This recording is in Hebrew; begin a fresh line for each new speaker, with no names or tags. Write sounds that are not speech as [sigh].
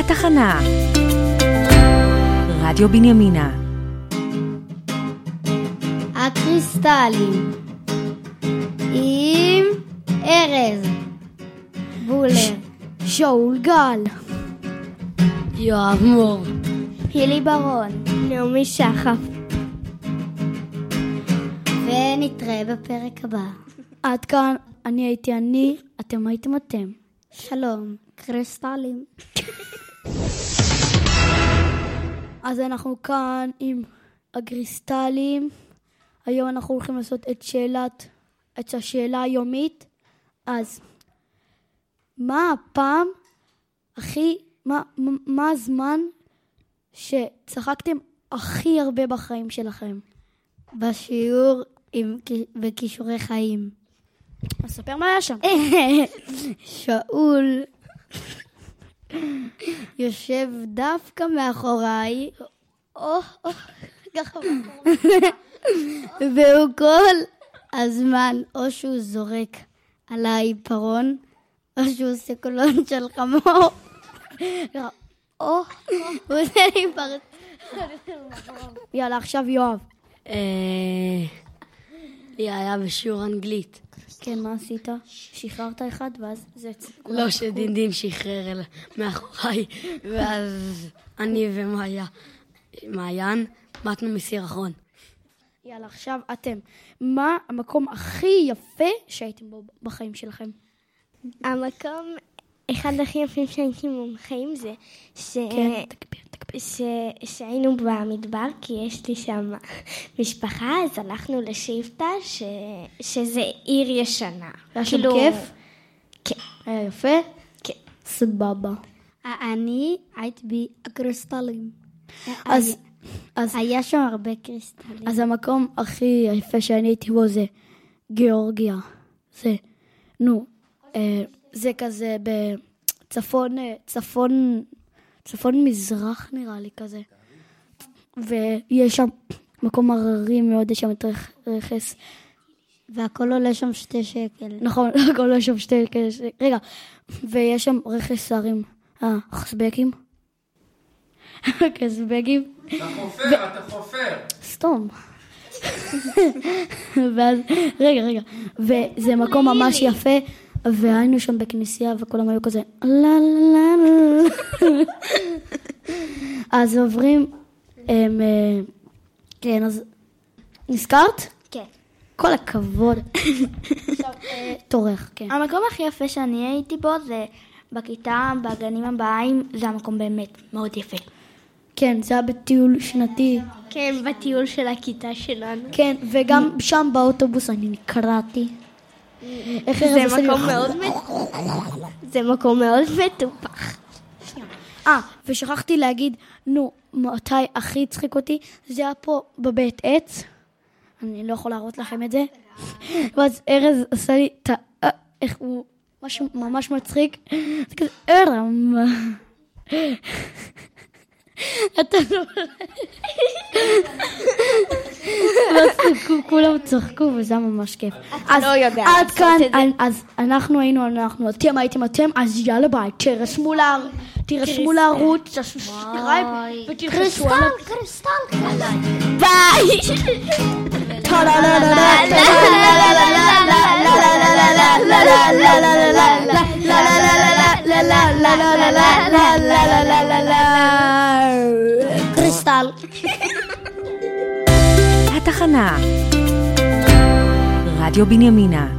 התחנה. רדיו בנימינה.
הקריסטלים עם ארז בולר,
שאול גל,
יואב מור,
הילי ברון,
נעמי שחף.
ונתראה בפרק הבא.
עד כאן אני הייתי אני, אתם הייתם אתם.
שלום, קריסטלים.
אז אנחנו כאן עם הגריסטלים. היום אנחנו הולכים לעשות את שאלת, את השאלה היומית. אז, מה הפעם הכי, מה, מה- מה הזמן שצחקתם הכי הרבה בחיים שלכם?
בשיעור עם, כי- בכישורי חיים.
אז ספר מה היה שם.
[laughs] שאול יושב דווקא מאחוריי, או, או, ככה מאחוריי. והוא כל הזמן, או שהוא זורק עליי פרון, או שהוא עושה קולון של חמור, או, או, הוא עושה לי פרצוף.
יאללה, עכשיו יואב.
אה, לי היה בשיעור אנגלית.
כן, מה עשית? שחררת אחד, ואז זה...
לא שדינדין שחרר אל- מאחוריי, ואז אני ומאיה, מעיין, באתנו מסירחון.
יאללה, עכשיו אתם. מה המקום הכי יפה שהייתם בו בחיים שלכם?
המקום, אחד הכי יפים שהייתי בחיים זה ש...
כן, תקביר, תקביר.
ש... שהיינו במדבר, כי יש לי שם משפחה, אז הלכנו לשאיפתא, ש... שזה עיר ישנה. כאילו,
היה שם כיף?
כן.
היה יפה?
כן.
סבבה.
אני הייתי בקריסטלים.
אז, אז,
היה שם הרבה קריסטלים.
אז המקום הכי יפה שאני הייתי בו זה גיאורגיה. זה, נו, אה, זה כזה בצפון, אה, צפון, צפון מזרח נראה לי כזה. ויש שם מקום הררי מאוד, יש שם את רכ- רכס.
והכל עולה שם שתי שקל.
נכון, [laughs] הכל יש שם שתי כאלה, ש- רגע, ויש שם רכס הרים, אה, [laughs] חסבקים? חסבקים?
חופר, אתה חופר.
סתום. ואז, רגע, רגע, וזה מקום ממש יפה, והיינו שם בכנסייה וכולם היו כזה, לה לה לה לה. אז עוברים, אמ, אה, כן, אז נזכרת?
כן.
כל הכבוד.
אה,
תורך, כן.
המקום הכי יפה שאני הייתי בו זה בכיתה, בגנים הבאים, זה המקום באמת מאוד יפה.
כן, זה היה בטיול שנתי.
כן, בטיול של הכיתה שלנו.
כן, וגם שם באוטובוס אני נקרעתי. איך ארז עושה
כן, זה נכון.
לי
מקום
לחץ?
מאוד מטופח. זה מקום מאוד מטופח.
אה, ושכחתי להגיד, נו, מתי הכי הצחיק אותי? זה היה פה בבית עץ. אני לא יכול להראות לכם את זה. ואז ארז עשה לי את ה... אה, איך הוא... משהו ממש מצחיק. זה כזה, ארם. אתה לא... ואז כו- כולם צחקו וזה היה ממש כיף. אז
לא יודע
עד
לעשות
כאן,
את זה.
אנ- אז אנחנו היינו אנחנו, אתם הייתם אתם, אז יאללה ביי, תירשמו ל- תירשמו לערוץ, תעשו סאבסקרייב ותלחצו על ה...
ביי!
[laughs]
קריסטל.
התחנה. רדיו בנימינה.